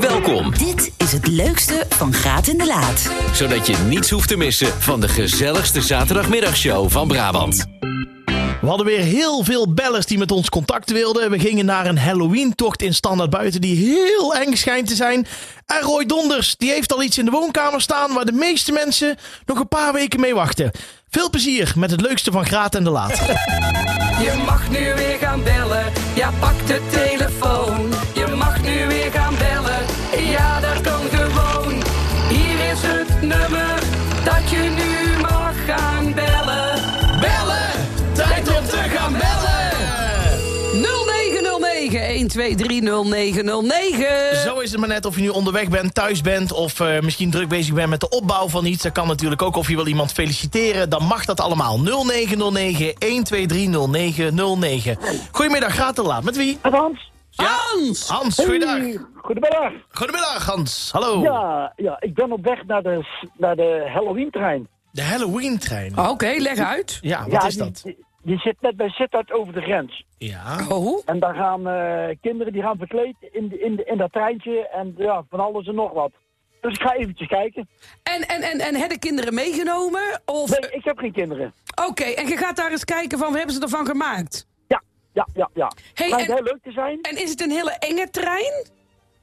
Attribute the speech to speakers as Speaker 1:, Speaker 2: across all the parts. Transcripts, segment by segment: Speaker 1: Welkom,
Speaker 2: Dit is het leukste van Graat in de Laat.
Speaker 1: zodat je niets hoeft te missen van de gezelligste zaterdagmiddagshow van Brabant.
Speaker 3: We hadden weer heel veel bellers die met ons contact wilden. We gingen naar een Halloween-tocht in Standaard Buiten die heel eng schijnt te zijn. En Roy Donders, die heeft al iets in de woonkamer staan waar de meeste mensen nog een paar weken mee wachten. Veel plezier met het leukste van Graat en de Laat.
Speaker 4: Je mag nu weer gaan bellen, ja pak de telefoon. Je mag nu weer gaan bellen, ja dat kan gewoon. Hier is het nummer dat je nu mag gaan bellen. Bellen, tijd om te gaan bellen. 0909
Speaker 3: Zo is het maar net of je nu onderweg bent, thuis bent of eh, misschien druk bezig bent met de opbouw van iets. Dat kan natuurlijk ook. Of je wil iemand feliciteren, dan mag dat allemaal. 0909 1230909. Goedemiddag, Graat en de Laat. Met wie?
Speaker 5: Met Hans.
Speaker 4: Hans!
Speaker 3: Hans, goeiedag.
Speaker 5: Hey, Goedemiddag.
Speaker 3: Goedemiddag, Hans. Hallo.
Speaker 5: Ja, ja, ik ben op weg naar de, naar de Halloween-trein.
Speaker 3: De Halloween-trein.
Speaker 4: Oké, leg uit.
Speaker 3: Ja, wat
Speaker 5: ja,
Speaker 3: is dat?
Speaker 5: Die, die, die zit net bij Sittard over de grens.
Speaker 3: Ja.
Speaker 4: Oh,
Speaker 5: En daar gaan eh, kinderen die gaan verkleed in, de- in, de- in dat treintje en ja, van alles en nog wat. Dus ik ga eventjes kijken.
Speaker 4: en, en, en, en hebben kinderen meegenomen? Of...
Speaker 5: Nee, ik heb geen kinderen.
Speaker 4: Oké, en je gaat daar eens kijken van, wat hebben ze ervan gemaakt?
Speaker 5: Ja, ja, ja, ja.
Speaker 4: Hey,
Speaker 5: Schijnt
Speaker 4: en-
Speaker 5: heel leuk te zijn.
Speaker 4: En is het een hele enge trein?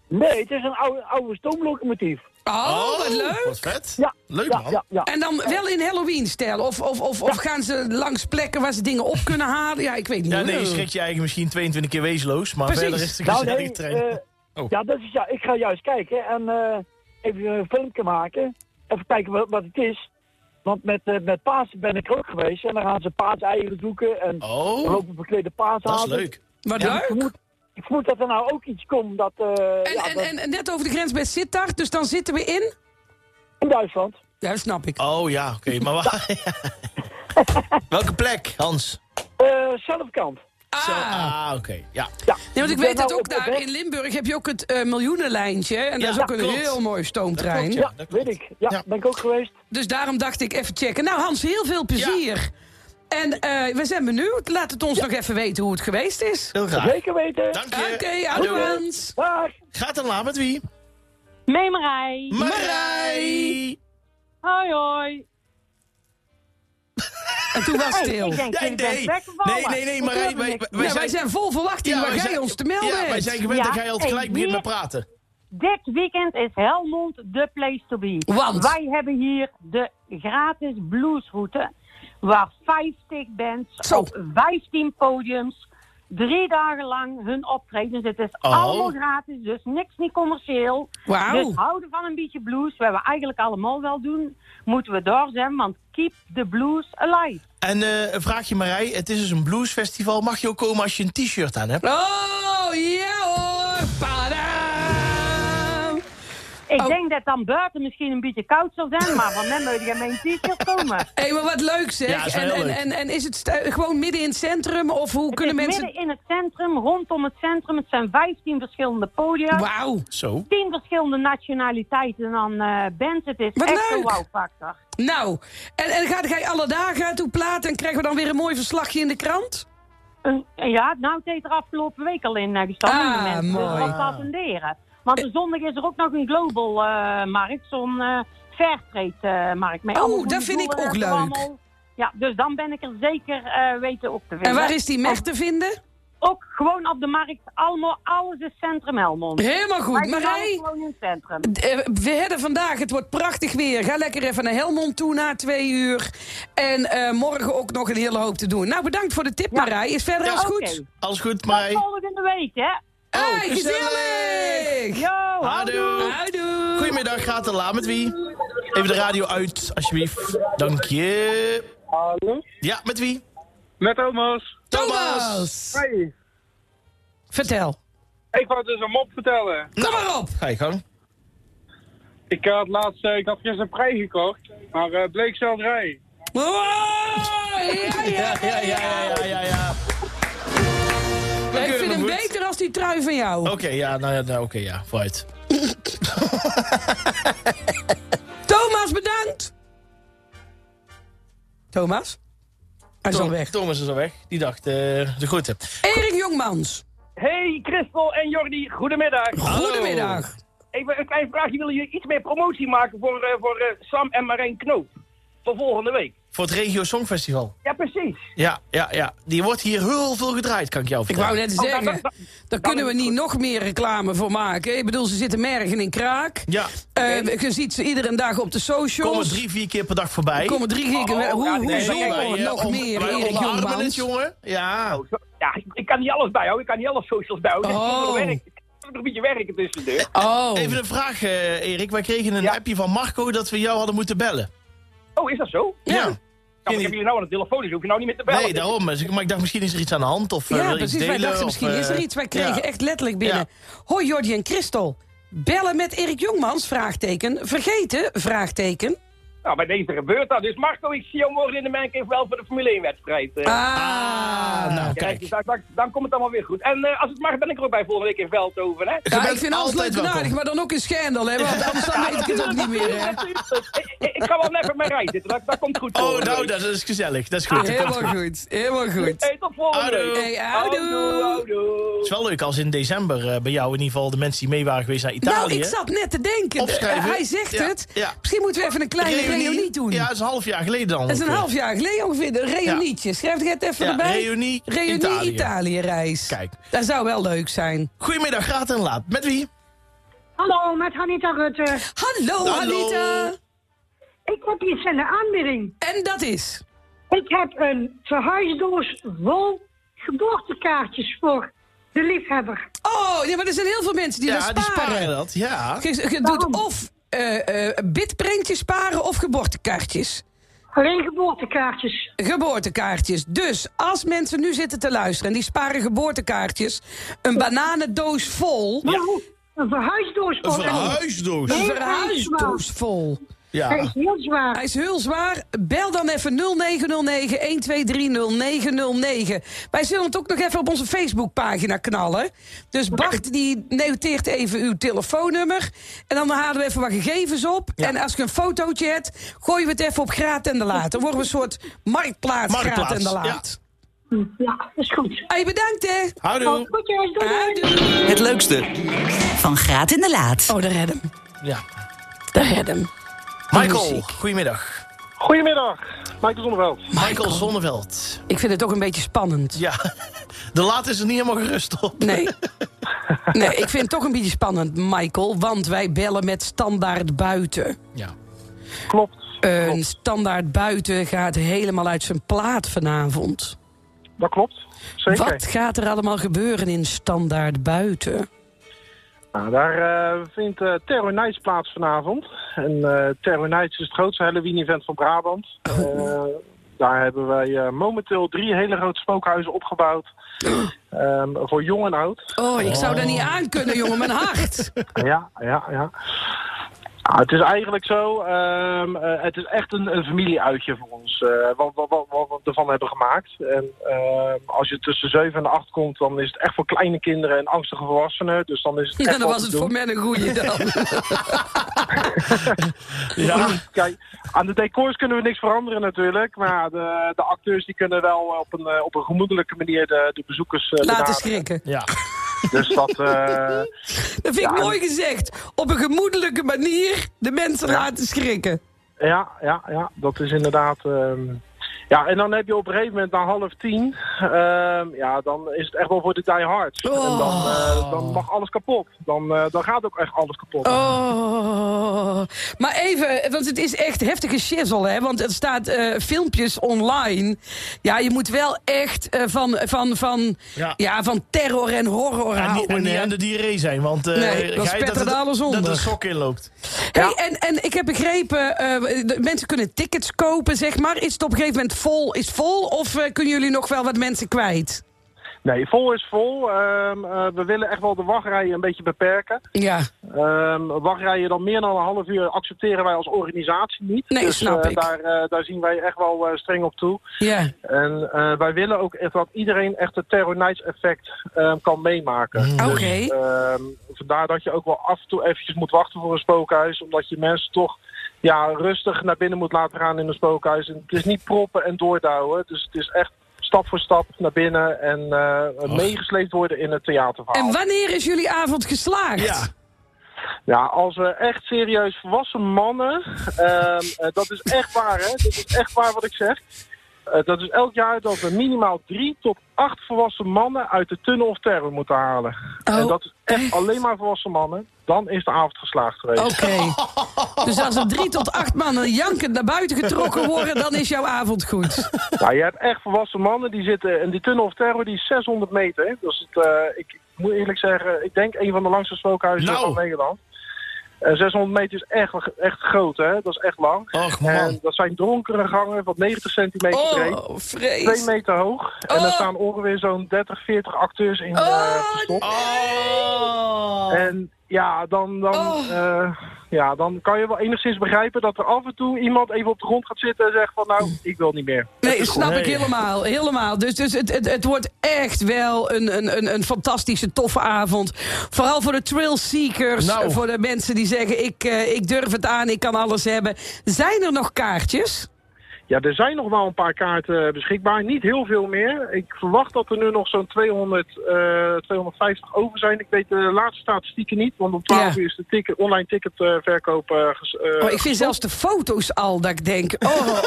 Speaker 5: Nee, het is een oude, oude stoomlocomotief.
Speaker 4: Oh, wat leuk.
Speaker 3: Wat vet.
Speaker 5: Ja,
Speaker 3: Leuk
Speaker 5: ja,
Speaker 3: man.
Speaker 5: Ja, ja.
Speaker 4: En dan wel in Halloween-stijl? Of, of, of, of gaan ze langs plekken waar ze dingen op kunnen halen? Ja, ik weet niet.
Speaker 3: Ja, nee, je schrikt je eigen misschien 22 keer wezenloos, maar
Speaker 4: Precies.
Speaker 3: verder is het een
Speaker 5: Nou
Speaker 3: gezellige
Speaker 5: nee,
Speaker 3: trein.
Speaker 5: eh,
Speaker 3: Oh.
Speaker 5: ja, dat is, ja, ik ga juist kijken en eh, even een filmpje maken. Even kijken wat, wat het is. Want met, eh, met Pasen ben ik er ook geweest en dan gaan ze paaseieren zoeken en
Speaker 3: Oh.
Speaker 5: dan lopen verklede paas
Speaker 3: dat is leuk.
Speaker 4: Hm, Wat
Speaker 5: Ik
Speaker 4: leuk.
Speaker 5: vermoed, ik vermoed dat er nou ook iets komt dat, eh,
Speaker 4: En,
Speaker 5: ja,
Speaker 4: en,
Speaker 5: dat-
Speaker 4: en, en net over de grens bij Sittard, dus dan zitten we in...
Speaker 5: in Duitsland.
Speaker 4: Ja, snap ik.
Speaker 3: Oh ja, oké. maar waar? Welke plek, Hans?
Speaker 5: Eh, zelfkant.
Speaker 3: Zo-
Speaker 4: Ah,
Speaker 3: ah, oké. Ja.
Speaker 5: Ja.
Speaker 4: nee, want ik
Speaker 5: ben
Speaker 4: weet dat
Speaker 5: nou
Speaker 4: ook
Speaker 5: op- op
Speaker 4: daar
Speaker 5: weg.
Speaker 4: in Limburg heb je ook het eh, miljoenenlijntje. En dat
Speaker 3: Ja,
Speaker 4: is ook
Speaker 3: dat
Speaker 4: een
Speaker 3: klopt.
Speaker 4: heel mooi stoomtrein.
Speaker 3: Dat klopt,
Speaker 5: Ja,
Speaker 3: dat klopt.
Speaker 5: weet ik. Ja,
Speaker 3: Ja.
Speaker 5: ben ik ook geweest.
Speaker 4: Dus daarom dacht ik even checken. Nou Hans, heel veel plezier. En eh, we zijn benieuwd. Laat het ons nog even weten hoe het geweest is.
Speaker 3: Heel graag.
Speaker 5: Zeker weten.
Speaker 3: Ah. Dank je.
Speaker 4: Oké,
Speaker 3: Hallo.
Speaker 4: hallo Hans.
Speaker 5: Dag.
Speaker 3: Gaat dan laat met wie?
Speaker 6: Meemarij.
Speaker 3: Marij.
Speaker 6: Hoi hoi.
Speaker 4: En toen was het
Speaker 6: Hey,
Speaker 4: stil.
Speaker 6: ik denk,
Speaker 3: Ja,
Speaker 6: jullie bent
Speaker 3: nee.
Speaker 6: weggevallen.
Speaker 3: Nee, nee, nee,
Speaker 6: Ik
Speaker 3: Marij.
Speaker 6: hoorde
Speaker 3: Wij,
Speaker 6: niks.
Speaker 3: wij
Speaker 4: ja, wij
Speaker 3: zijn...
Speaker 4: zijn vol verwachting waar
Speaker 3: wij
Speaker 4: jij
Speaker 3: zijn-
Speaker 4: ons te melden
Speaker 3: Ja, wij
Speaker 4: hebt.
Speaker 3: zijn gewend
Speaker 6: Ja,
Speaker 3: dat jij al
Speaker 6: en
Speaker 3: gelijk begint met
Speaker 6: hier-
Speaker 3: praten.
Speaker 6: Dit weekend is Helmond de place to be.
Speaker 4: Want?
Speaker 6: Wij hebben hier de gratis bluesroute. Waar 50 bands
Speaker 4: Zo.
Speaker 6: op 15 podiums drie dagen lang hun optreden. Dus het is
Speaker 3: Oh.
Speaker 6: allemaal gratis, dus niks niet commercieel.
Speaker 4: Wauw.
Speaker 6: Dus houden van een beetje blues, wat we eigenlijk allemaal wel doen, moeten we door zijn. Want keep the blues alive.
Speaker 3: En eh, een vraagje Marij, het is dus een bluesfestival. Mag je ook komen als je een t-shirt aan hebt?
Speaker 4: Oh, ja hoor. Padam.
Speaker 6: Ik
Speaker 4: Oh.
Speaker 6: denk dat dan buiten misschien een beetje koud zal zijn, maar van mij moet je mijn t-shirt komen.
Speaker 4: Hé, maar wat leuk zeg.
Speaker 3: Ja, is wel
Speaker 4: en,
Speaker 3: heel
Speaker 4: en,
Speaker 3: leuk.
Speaker 4: en, en is het stu- gewoon midden in het centrum? Of hoe kunnen
Speaker 6: het is
Speaker 4: mensen...
Speaker 6: midden in het centrum, rondom het centrum. Het zijn 15 verschillende podia.
Speaker 4: Wauw.
Speaker 3: Zo.
Speaker 6: 10 verschillende nationaliteiten aan eh bands. Het is
Speaker 4: Wat
Speaker 6: echt een
Speaker 4: leuk.
Speaker 6: wow-factor.
Speaker 4: Nou, en, en ga, ga je alle dagen toe platen en krijgen we dan weer een mooi verslagje in de krant?
Speaker 6: Een- ja, nou, het heeft er afgelopen week al in eh, gestaan.
Speaker 4: Ah,
Speaker 6: om de mensen
Speaker 4: mooi. Eh.
Speaker 6: erop te attenderen. Want de zondag is er ook nog een global eh, markt, zo'n eh fairtrade-markt.
Speaker 4: Oh, dat vind ik ook leuk.
Speaker 6: Ja, dus dan ben ik er zeker eh, weten op te vinden.
Speaker 4: En waar is die mech te vinden?
Speaker 6: Ook gewoon op de markt. Allemaal, alles is Centrum Helmond.
Speaker 4: Helemaal goed.
Speaker 6: Wij zijn
Speaker 4: Marij,
Speaker 6: alles gewoon in het centrum.
Speaker 4: eh, we hebben vandaag, het wordt prachtig weer. Ga lekker even naar Helmond toe na twee uur. En eh, morgen ook nog een hele hoop te doen. Nou, bedankt voor de tip, Marij. Is verder alles
Speaker 6: Oké.
Speaker 4: goed?
Speaker 3: Alles goed,
Speaker 6: Tot
Speaker 3: Marij?
Speaker 6: volgende week, hè?
Speaker 4: Hé,
Speaker 3: Oh, gezellig.
Speaker 4: gezellig!
Speaker 6: Yo,
Speaker 3: Houdoe.
Speaker 4: Houdoe.
Speaker 3: Goedemiddag, gaat de laan met wie? Even de radio uit, alsjeblieft. Dank je.
Speaker 7: Hallo?
Speaker 3: Ja, met wie?
Speaker 7: Met Thomas.
Speaker 4: Thomas!
Speaker 7: Hey.
Speaker 4: Vertel.
Speaker 7: Ik wou dus een mop vertellen.
Speaker 4: Kom
Speaker 3: Nou.
Speaker 4: maar op!
Speaker 3: Ga je gang.
Speaker 7: Ik had laatst, eh, ik had gisteren een prei gekocht, maar eh, bleek selderij.
Speaker 4: Wow! Ja, ja, ja, ja.
Speaker 3: ja, ja, ja.
Speaker 4: Ik vind
Speaker 3: hem
Speaker 4: hem
Speaker 3: goed.
Speaker 4: beter als die trui van jou.
Speaker 3: Oké, ja, nou ja, nou, oké, ja, vooruit.
Speaker 4: Thomas, bedankt! Thomas? Hij is al weg.
Speaker 3: Thomas is al weg. Die dacht, eh, de groeten.
Speaker 4: Erik Jongmans,
Speaker 7: Hey Christel en Jordi, goedemiddag.
Speaker 4: goedemiddag.
Speaker 8: even een klein vraagje. Willen jullie iets meer promotie maken voor, eh, voor eh, Sam en Marijn Knoop? Voor volgende week.
Speaker 3: Voor het Regio Songfestival.
Speaker 8: Ja, precies.
Speaker 3: Ja, ja, ja. Die wordt hier heel veel gedraaid, kan ik jou
Speaker 4: Ik
Speaker 3: vertellen.
Speaker 4: wou net
Speaker 8: Nou,
Speaker 4: zeggen, daar kunnen we niet nog meer reclame voor maken. Ik bedoel, ze zitten mergen in kraak.
Speaker 3: Ja.
Speaker 4: Eh, je ziet ze iedere dag op de socials.
Speaker 3: Komen drie, vier keer per dag voorbij.
Speaker 4: Er komen drie keer.
Speaker 8: Oh,
Speaker 4: hoe
Speaker 8: ja, nee,
Speaker 4: hoe
Speaker 8: nee,
Speaker 4: zo
Speaker 8: wij,
Speaker 3: eh,
Speaker 4: nog
Speaker 3: om-
Speaker 4: meer,
Speaker 3: wij
Speaker 4: Erik
Speaker 3: omarmen het,
Speaker 4: Jongmans?
Speaker 3: jongen. Ja.
Speaker 8: Ja, ik, ik kan niet alles bijhouden. Ik kan niet alle socials bijhouden.
Speaker 4: Oh.
Speaker 8: Ik moet nog werken. Ik moet nog een beetje werken tussen de deur.
Speaker 4: Oh,
Speaker 3: Even een vraag, eh, Erik. Wij kregen een
Speaker 8: Ja.
Speaker 3: appje van Marco dat we jou hadden moeten bellen.
Speaker 8: Oh, is dat zo?
Speaker 4: Ja.
Speaker 3: Ja.
Speaker 8: Ja, maar ik heb jullie nou aan de telefoon, dus hoef je nou niet meer te bellen.
Speaker 3: Nee, daarom. Dus ik- Maar ik dacht, misschien is er iets aan de hand. Of, eh, wil
Speaker 4: ja,
Speaker 3: je iets
Speaker 4: precies. Wij
Speaker 3: delen,
Speaker 4: dachten
Speaker 3: of,
Speaker 4: misschien
Speaker 3: eh,
Speaker 4: is er iets. Wij kregen
Speaker 3: ja.
Speaker 4: echt letterlijk binnen. Hoi Jordi en Christel. Bellen met Erik Jongmans? Vraagteken. Vergeten? Vraagteken.
Speaker 8: Nou, bij deze gebeurt dat. Dus Marco, ik zie jou morgen in de Mijnkeef wel voor de Formule 1-wedstrijd. eh.
Speaker 3: Ah, nou
Speaker 8: Kijk,
Speaker 3: kijk.
Speaker 8: dus dan, dan- dan komt het allemaal weer goed. En eh, als het mag, ben ik er ook bij volgende week in Veldhoven, hè?
Speaker 4: Ja, ik
Speaker 3: bent
Speaker 4: vind alles
Speaker 3: altijd
Speaker 4: leuk en
Speaker 3: welkom.
Speaker 4: aardig, maar dan ook een schendel, hè? Want anders dan weet ik het ook niet meer, hè?
Speaker 8: ik, ik- ik ga wel net op mijn rij zitten, dat, dat komt goed.
Speaker 3: Oh,
Speaker 8: volgende
Speaker 3: nou,
Speaker 8: week.
Speaker 3: dat is gezellig. Dat is goed. Dat komt goed.
Speaker 4: Helemaal goed, helemaal goed.
Speaker 8: Hey, tot volgende
Speaker 3: Houdoe.
Speaker 8: week.
Speaker 4: Hey, houdoe.
Speaker 8: houdoe.
Speaker 3: Het is wel leuk als in december eh, bij jou in ieder geval de mensen die mee waren geweest naar
Speaker 4: Nou,
Speaker 3: Italië.
Speaker 4: ik zat net te denken.
Speaker 3: Opschrijven.
Speaker 4: Eh, Hij zegt
Speaker 3: Ja,
Speaker 4: het.
Speaker 3: ja.
Speaker 4: Misschien moeten we even een kleine
Speaker 3: Reunie.
Speaker 4: reunie, doen.
Speaker 3: Ja, dat is een half jaar geleden dan.
Speaker 4: Dat is een half jaar geleden ongeveer. Een reunietje. Schrijf het even
Speaker 3: Ja,
Speaker 4: erbij.
Speaker 3: reunie
Speaker 4: Reunie
Speaker 3: Italië.
Speaker 4: Italië-reis.
Speaker 3: Kijk.
Speaker 4: Dat zou wel leuk zijn.
Speaker 3: Goedemiddag, graat en laat. Met wie?
Speaker 9: Hallo, met Hanita Rutte.
Speaker 4: Hallo,
Speaker 3: Hallo.
Speaker 4: Anita.
Speaker 9: Ik heb iets in de aanbieding.
Speaker 4: En dat is...
Speaker 9: Ik heb een verhuisdoos vol geboortekaartjes voor de liefhebber.
Speaker 4: Oh, ja, maar er zijn heel veel mensen die
Speaker 3: ja,
Speaker 4: dat
Speaker 3: die
Speaker 4: sparen.
Speaker 3: sparen dat. Ja.
Speaker 4: Je, je
Speaker 9: Waarom?
Speaker 4: doet of eh eh bitprintjes sparen of geboortekaartjes.
Speaker 9: Alleen geboortekaartjes.
Speaker 4: Geboortekaartjes. Dus als mensen nu zitten te luisteren en die sparen geboortekaartjes, een bananendoos vol,
Speaker 9: Waarom? Een verhuisdoos
Speaker 3: Een
Speaker 9: voor
Speaker 3: verhuisdoos.
Speaker 4: een verhuisdoos vol.
Speaker 9: Hij
Speaker 3: Ja.
Speaker 9: is heel zwaar.
Speaker 4: Hij is heel zwaar. Bel dan even 0909-1230909. Wij zullen het ook nog even op onze Facebookpagina knallen. Dus Bart die noteert even uw telefoonnummer. En dan halen we even wat gegevens op. En als je een fotootje hebt, gooien we het even op Graat en de Laat. Dan worden we een soort marktplaats,
Speaker 3: Marktplaats,
Speaker 4: Graat en
Speaker 3: ja.
Speaker 4: de Laat.
Speaker 9: Ja, dat is goed.
Speaker 4: Hey, bedankt hè.
Speaker 3: Houdoe.
Speaker 9: Goed, jongens, doei, doei.
Speaker 4: Houdoe.
Speaker 1: Het leukste,
Speaker 2: Van Graat in de Laat.
Speaker 4: Oh, daar red hem.
Speaker 3: Ja.
Speaker 4: Daar red hem.
Speaker 3: Michael,
Speaker 4: Muziek.
Speaker 3: goedemiddag.
Speaker 5: Goedemiddag, Michael Zonneveld.
Speaker 3: Michael Zonneveld.
Speaker 4: Ik vind het toch een beetje spannend.
Speaker 3: Ja. De laat is er niet helemaal gerust op.
Speaker 4: Nee. nee, ik vind het toch een beetje spannend, Michael. Want wij bellen met standaard buiten.
Speaker 3: Ja.
Speaker 5: Klopt,
Speaker 4: Een standaard buiten gaat helemaal uit zijn plaat vanavond.
Speaker 5: dat klopt. Zeker.
Speaker 4: Wat gaat er allemaal gebeuren in standaard buiten?
Speaker 5: Nou, daar eh, vindt eh Terror Nights plaats vanavond. En eh Terror Nights is het grootste Halloween-event van Brabant. Eh, daar hebben wij eh, momenteel drie hele grote spookhuizen opgebouwd. Ehm, voor jong en oud.
Speaker 4: Oh, ik zou daar niet aan kunnen, jongen. Mijn hart.
Speaker 5: Ja, ja, ja. Ah, het is eigenlijk zo, ehm, eh, het is echt een, een familieuitje voor ons, eh, wat, wat, wat, wat we ervan hebben gemaakt. En ehm, als je tussen 7 en 8 komt, dan is het echt voor kleine kinderen en angstige volwassenen. Dus dan is het echt
Speaker 4: Ja, dan
Speaker 5: wat
Speaker 4: was
Speaker 5: te
Speaker 4: het
Speaker 5: doen.
Speaker 4: voor mij een goeie dan.
Speaker 3: Ja.
Speaker 5: Kijk, aan de decors kunnen we niks veranderen natuurlijk, maar de, de acteurs die kunnen wel op een, eh, op een gemoedelijke manier de, de bezoekers eh,
Speaker 4: Laten
Speaker 5: benaderen.
Speaker 4: schrikken.
Speaker 3: Ja.
Speaker 5: Dus dat, eh,
Speaker 4: Dat vind ik mooi gezegd. Op een gemoedelijke manier de mensen laten schrikken.
Speaker 5: Ja, ja, ja, dat is inderdaad. ehm, ja, en dan heb je op een gegeven moment na half tien, ehm, ja, dan is het echt wel voor de diehards. En dan, eh, dan mag alles kapot. Dan, eh, dan gaat ook echt alles kapot.
Speaker 4: Oh, maar even, want het is echt heftige shizzle, hè? Want er staat eh, filmpjes online. Ja, je moet wel echt eh, van, van, van,
Speaker 3: Ja.
Speaker 4: ja. van terror en horror
Speaker 3: En niet, en
Speaker 4: houden.
Speaker 3: niet
Speaker 4: hè.
Speaker 3: aan de diarree zijn, want eh
Speaker 4: Nee, dan
Speaker 3: Gij,
Speaker 4: spettert
Speaker 3: het-
Speaker 4: alles
Speaker 3: Dat
Speaker 4: onder.
Speaker 3: er sok in loopt.
Speaker 4: Hey, en, en ik heb begrepen, eh, de- mensen kunnen tickets kopen, zeg maar. Is het op een gegeven moment vol? Is het vol of eh, kunnen jullie nog wel wat mensen kwijt?
Speaker 5: Nee, vol is vol. Ehm, eh, we willen echt wel de wachtrijen een beetje beperken.
Speaker 4: Ja,
Speaker 5: Ehm, wachtrijen dan meer dan een half uur accepteren wij als organisatie niet.
Speaker 4: Nee,
Speaker 5: dus
Speaker 4: snap
Speaker 5: eh,
Speaker 4: ik.
Speaker 5: Daar, eh, daar zien wij echt wel eh, streng op toe.
Speaker 4: ja.
Speaker 5: En eh, wij willen ook echt dat iedereen echt het Terror Nights effect ehm, kan meemaken.
Speaker 4: Oké.
Speaker 5: Ehm, vandaar dat je ook wel af en toe eventjes moet wachten voor een spookhuis. Omdat je mensen toch ja, rustig naar binnen moet laten gaan in een spookhuis. En het is niet proppen en doordouwen. Dus het is echt stap voor stap naar binnen en eh, meegesleept worden in het theaterverhaal.
Speaker 4: En wanneer is jullie avond geslaagd?
Speaker 3: Ja.
Speaker 5: Ja, als eh, echt serieus volwassen mannen, ehm, eh, dat is echt waar, hè? Dat is echt waar wat ik zeg. Eh, dat is elk jaar dat we minimaal drie tot acht volwassen mannen uit de tunnel of terror moeten halen. En dat is echt alleen maar volwassen mannen. Dan is de avond geslaagd geweest.
Speaker 4: Oké. Dus als er drie tot acht mannen jankend naar buiten getrokken worden, dan is jouw avond goed.
Speaker 5: Nou, je hebt echt volwassen mannen die zitten. En die tunnel of terror die is 600 meter. Dus het, eh, ik, ik moet eerlijk zeggen, ik denk een van de langste spookhuizen
Speaker 3: Nou.
Speaker 5: van Nederland. Eh, 600 meter is echt, echt groot, hè? Dat is echt lang.
Speaker 3: Och, man.
Speaker 5: En dat zijn donkere gangen van 90 centimeter breed.
Speaker 4: Oh, vrees.
Speaker 5: 2 meter hoog. En daar staan ongeveer zo'n 30, 40 acteurs in
Speaker 4: Oh,
Speaker 5: eh, verstopt. En ja dan, dan,
Speaker 4: Oh.
Speaker 5: eh, ja, dan kan je wel enigszins begrijpen dat er af en toe iemand even op de grond gaat zitten en zegt van
Speaker 4: Mm.
Speaker 5: nou, ik wil niet meer. Het
Speaker 4: Nee,
Speaker 5: is
Speaker 4: snap
Speaker 5: goed.
Speaker 4: ik helemaal. helemaal. Dus, dus het, het, het wordt echt wel een, een, een, een fantastische, toffe avond. Vooral voor de thrill seekers.
Speaker 3: Nou.
Speaker 4: Voor de mensen die zeggen, ik, eh, ik durf het aan, ik kan alles hebben. Zijn er nog kaartjes?
Speaker 5: Ja, er zijn nog wel een paar kaarten beschikbaar. Niet heel veel meer. Ik verwacht dat er nu nog zo'n 200, eh, 250 over zijn. Ik weet de laatste statistieken niet, want om 12
Speaker 4: Ja.
Speaker 5: uur is de ticket, online ticketverkoop eh ges- eh,
Speaker 4: Oh, ik vind zelfs de foto's al dat ik denk... Oh,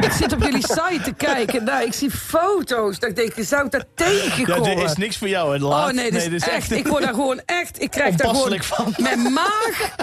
Speaker 4: ik zit op jullie site te kijken. Nou, ik zie foto's. Dat ik denk, zou ik dat
Speaker 3: Ja,
Speaker 4: tegenkomen?
Speaker 3: dit is niks voor jou, hè, de
Speaker 4: Oh
Speaker 3: laat.
Speaker 4: nee, dit is echt, Ik word daar gewoon echt. Ik krijg daar gewoon.
Speaker 3: Onpasselijk van.
Speaker 4: Mijn maag.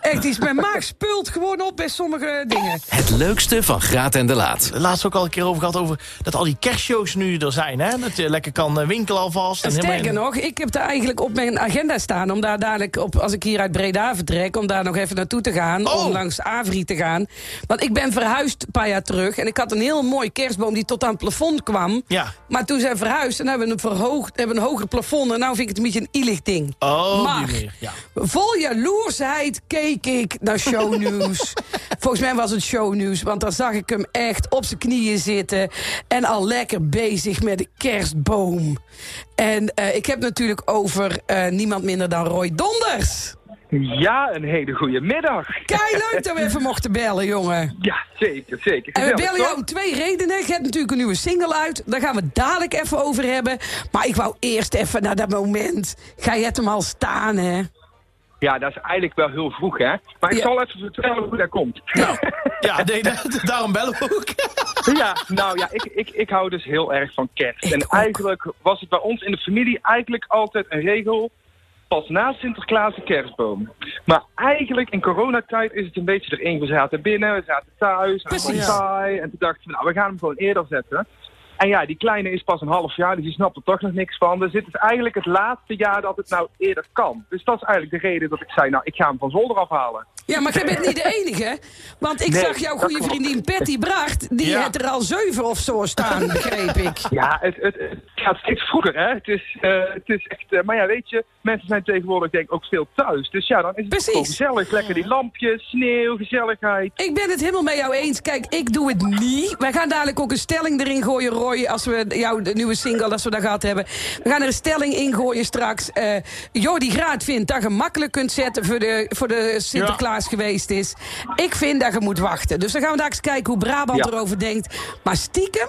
Speaker 4: Echt iets. Mijn maag spult gewoon op bij sommige dingen.
Speaker 1: Het leukste van Graat en de Laat.
Speaker 3: Laatst ook al een keer over gehad over dat al die kerstshows nu er zijn. Hè? Dat je lekker kan eh, winkelen alvast.
Speaker 4: En
Speaker 3: En helemaal
Speaker 4: sterker
Speaker 3: in-
Speaker 4: nog, ik heb daar eigenlijk op mijn agenda staan... om daar dadelijk, op, als ik hier uit Breda vertrek... om daar nog even naartoe te gaan,
Speaker 3: Oh.
Speaker 4: om langs Avri te gaan. Want ik ben verhuisd een paar jaar terug... en ik had een heel mooi kerstboom die tot aan het plafond kwam.
Speaker 3: Ja.
Speaker 4: Maar toen zijn we verhuisd en hebben we een, verhoogd, hebben we een hoger plafond... en nou vind ik het een beetje een ielig ding.
Speaker 3: Oh, die
Speaker 4: Maar-
Speaker 3: manier, Ja.
Speaker 4: Vol jaloersheid keek ik naar shownieuws. Volgens mij was het shownieuws, want daar zag ik hem echt op zijn knieën zitten... en al lekker bezig met de kerstboom. En eh, ik heb natuurlijk over eh, niemand minder dan Roy Donders.
Speaker 8: Ja, een hele goede middag.
Speaker 4: Kei leuk dat we even mochten bellen, jongen.
Speaker 8: Ja, zeker, zeker.
Speaker 4: En we
Speaker 8: Gezellig,
Speaker 4: bellen
Speaker 8: toch?
Speaker 4: jou om twee redenen. Je hebt natuurlijk een nieuwe single uit. Daar gaan we het dadelijk even over hebben. Maar ik wou eerst even naar dat moment. Ga je het hem al staan, hè?
Speaker 8: Ja, dat is eigenlijk wel heel vroeg, hè? Maar ik
Speaker 4: Ja.
Speaker 8: zal even vertellen hoe dat komt.
Speaker 3: Ja, nee, da- daarom bellen we ook.
Speaker 8: Ja, nou ja, ik, ik, ik hou dus heel erg van kerst.
Speaker 4: Ik
Speaker 8: en
Speaker 4: ook.
Speaker 8: eigenlijk was het bij ons in de familie eigenlijk altijd een regel... pas na Sinterklaas de kerstboom. Maar eigenlijk in coronatijd is het een beetje erin. We zaten binnen, we zaten thuis, en het was
Speaker 4: Precies.
Speaker 8: saai. En toen dachten we, nou, we gaan hem gewoon eerder zetten. En ja, die kleine is pas een half jaar, dus die snapt er toch nog niks van. Dus dit is eigenlijk het laatste jaar dat het nou eerder kan. Dus dat is eigenlijk de reden dat ik zei, nou, ik ga hem van zolder afhalen.
Speaker 4: Ja, maar jij bent niet de enige. Want ik
Speaker 8: Nee,
Speaker 4: zag jouw
Speaker 8: dat
Speaker 4: goede
Speaker 8: klopt.
Speaker 4: vriendin Patty Bracht... die
Speaker 3: Ja.
Speaker 4: het er al zeven of zo staan, begreep ik.
Speaker 8: Ja, het, het, het gaat steeds vroeger, hè. Het is, eh, het is echt... eh, maar ja, weet je, mensen zijn tegenwoordig denk ik ook veel thuis. Dus ja, dan is het
Speaker 4: Precies.
Speaker 8: gewoon gezellig. Lekker die lampjes, sneeuw, gezelligheid.
Speaker 4: Ik ben het helemaal met jou eens. Kijk, ik doe het niet. Wij gaan dadelijk ook een stelling erin gooien, Roy... als we jouw de nieuwe single, als we dat gehad hebben. We gaan er een stelling in gooien straks. Eh Jordi Graat vindt dat je makkelijk kunt zetten... voor de, voor de Sinterklaas geweest is. Ik vind dat je moet wachten. Dus dan gaan we daar eens kijken hoe Brabant
Speaker 8: Ja.
Speaker 4: erover denkt. Maar stiekem,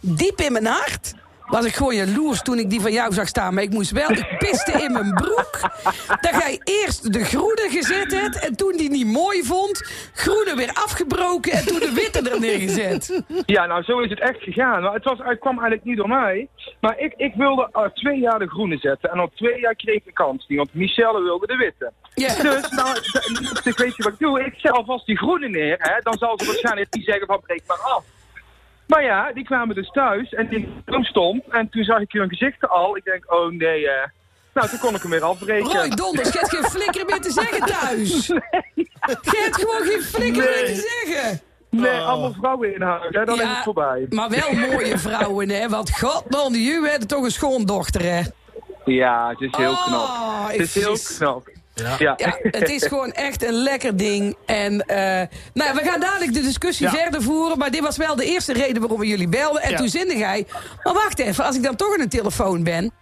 Speaker 4: diep in mijn hart... Was ik gewoon jaloers toen ik die van jou zag staan. Maar ik moest wel, ik piste in mijn broek. Dat jij eerst de groene gezet hebt. En toen die niet mooi vond. Groene weer afgebroken. En toen de witte er neergezet.
Speaker 8: Ja, nou, zo is het echt gegaan. Maar het, was, het kwam eigenlijk niet door mij. Maar ik, ik wilde al twee jaar de groene zetten. En al twee jaar kreeg ik de kans niet, want Michelle wilde de witte.
Speaker 4: Ja.
Speaker 8: Dus, nou, d- moest ik weet je wat ik doe? Ik zet alvast die groene neer, hè. Dan zal ze waarschijnlijk niet zeggen van, breek maar af. Maar ja, die kwamen dus thuis en die toen stond. En toen zag ik hun gezichten al. Ik denk, oh nee, eh. Nou, toen kon ik hem weer afbreken.
Speaker 4: Roy Donders, je hebt geen flikker meer te zeggen thuis. Je hebt gewoon geen flikker meer te zeggen.
Speaker 8: Nee, allemaal vrouwen in huis, hè. Dan
Speaker 4: Ja,
Speaker 8: is het voorbij.
Speaker 4: Maar wel mooie vrouwen, hè. Want godman, jullie hebben toch een schoondochter, hè.
Speaker 8: Ja, het is heel
Speaker 4: Oh,
Speaker 8: knap.
Speaker 4: ik
Speaker 8: Het is heel
Speaker 4: vis.
Speaker 8: knap. Ja.
Speaker 4: Ja, het is gewoon echt een lekker ding. En eh, nou ja, we gaan dadelijk de discussie
Speaker 3: Ja.
Speaker 4: verder voeren. Maar dit was wel de eerste reden waarom we jullie belden. En
Speaker 3: Ja.
Speaker 4: toen zinde jij. Maar wacht even, als ik dan toch aan de telefoon ben.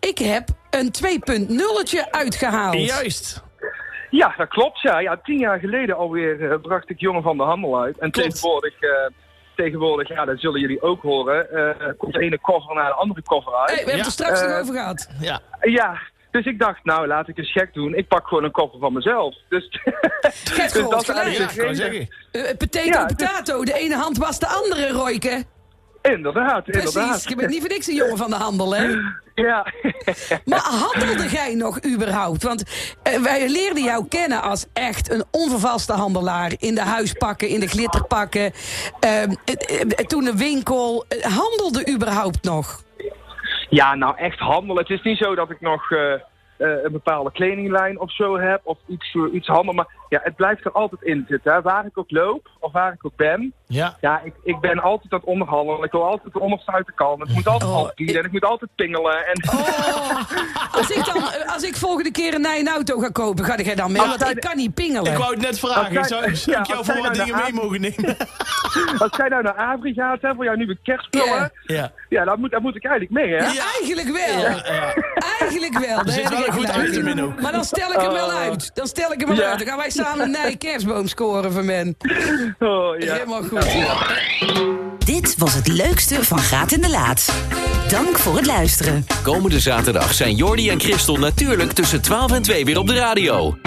Speaker 4: Ik heb een 2.0'tje uitgehaald.
Speaker 3: Juist.
Speaker 8: Ja, dat klopt. Ja. Ja, tien jaar geleden alweer eh, bracht ik Jongen van de Handel uit. En
Speaker 3: Klopt.
Speaker 8: tegenwoordig, eh, tegenwoordig, ja, dat zullen jullie ook horen, eh, komt de ene koffer naar de andere koffer
Speaker 4: Hey, we
Speaker 8: uit.
Speaker 4: hebben het er straks
Speaker 8: Eh,
Speaker 4: nog over gehad.
Speaker 3: Ja.
Speaker 8: Ja, Dus ik dacht, nou laat ik eens gek doen. Ik pak gewoon een koppel van mezelf. Dus,
Speaker 4: Gert
Speaker 8: dus
Speaker 4: Groot,
Speaker 8: dat is
Speaker 4: gelijk.
Speaker 8: eigenlijk
Speaker 4: Ja, ik
Speaker 8: de
Speaker 4: wou
Speaker 8: reden.
Speaker 4: Eh, potato,
Speaker 8: Ja, dus-
Speaker 4: potato. De ene hand was de andere, Royke.
Speaker 8: Inderdaad,
Speaker 4: Precies.
Speaker 8: inderdaad.
Speaker 4: Je bent niet voor niks een jongen van de handel, hè?
Speaker 8: Ja.
Speaker 4: Maar handelde jij nog überhaupt? Want eh, wij leerden jou kennen als echt een onvervalste handelaar. In de huispakken, in de glitterpakken. Ehm, eh, eh, toen de winkel. Eh, handelde überhaupt nog?
Speaker 8: Ja, nou echt handel. Het is niet zo dat ik nog eh, eh, een bepaalde kledinglijn of zo heb of iets, eh, iets handel. Maar ja, het blijft er altijd in zitten. Hè. Waar ik ook loop of waar ik ook ben.
Speaker 3: Ja.
Speaker 8: Ja, ik, ik ben altijd aan het onderhandelen. Ik wil altijd de onderste uit de kan. Het moet altijd oh, en ik moet altijd pingelen. En...
Speaker 4: Oh.
Speaker 3: Oh.
Speaker 4: Als ik, dan, eh, als ik volgende keer een nieuwe auto ga kopen, ga jij dan mee?
Speaker 8: Als
Speaker 4: Want
Speaker 8: zij
Speaker 4: ik
Speaker 8: de-
Speaker 4: kan niet pingelen.
Speaker 3: Ik wou het net
Speaker 8: Als
Speaker 3: vragen.
Speaker 8: zij-
Speaker 3: Zou, zou ik
Speaker 8: ja,
Speaker 3: jou
Speaker 8: als
Speaker 3: voor
Speaker 8: zij
Speaker 3: wat
Speaker 8: nou
Speaker 3: dingen mee
Speaker 8: de
Speaker 3: mogen nemen?
Speaker 8: Als jij nou naar Avri gaat, hè, voor jouw nieuwe kerstspullen.
Speaker 4: Ja.
Speaker 3: Ja.
Speaker 8: Ja, dat moet, dat moet ik eigenlijk mee, hè?
Speaker 4: Ja, eigenlijk wel. Eigenlijk wel.
Speaker 3: Er zit wel een goed item in Oh. ook.
Speaker 4: Maar dan stel ik hem wel uit. Dan stel ik hem wel
Speaker 8: Ja.
Speaker 4: uit. Dan gaan wij samen een nieuwe kerstboom scoren voor men.
Speaker 8: Oh, ja.
Speaker 4: Helemaal goed.
Speaker 2: Dit was het leukste van Graat in de Laat. Dank voor het luisteren.
Speaker 1: Komende zaterdag zijn Jordi en Christel natuurlijk tussen 12 en 2 weer op de radio.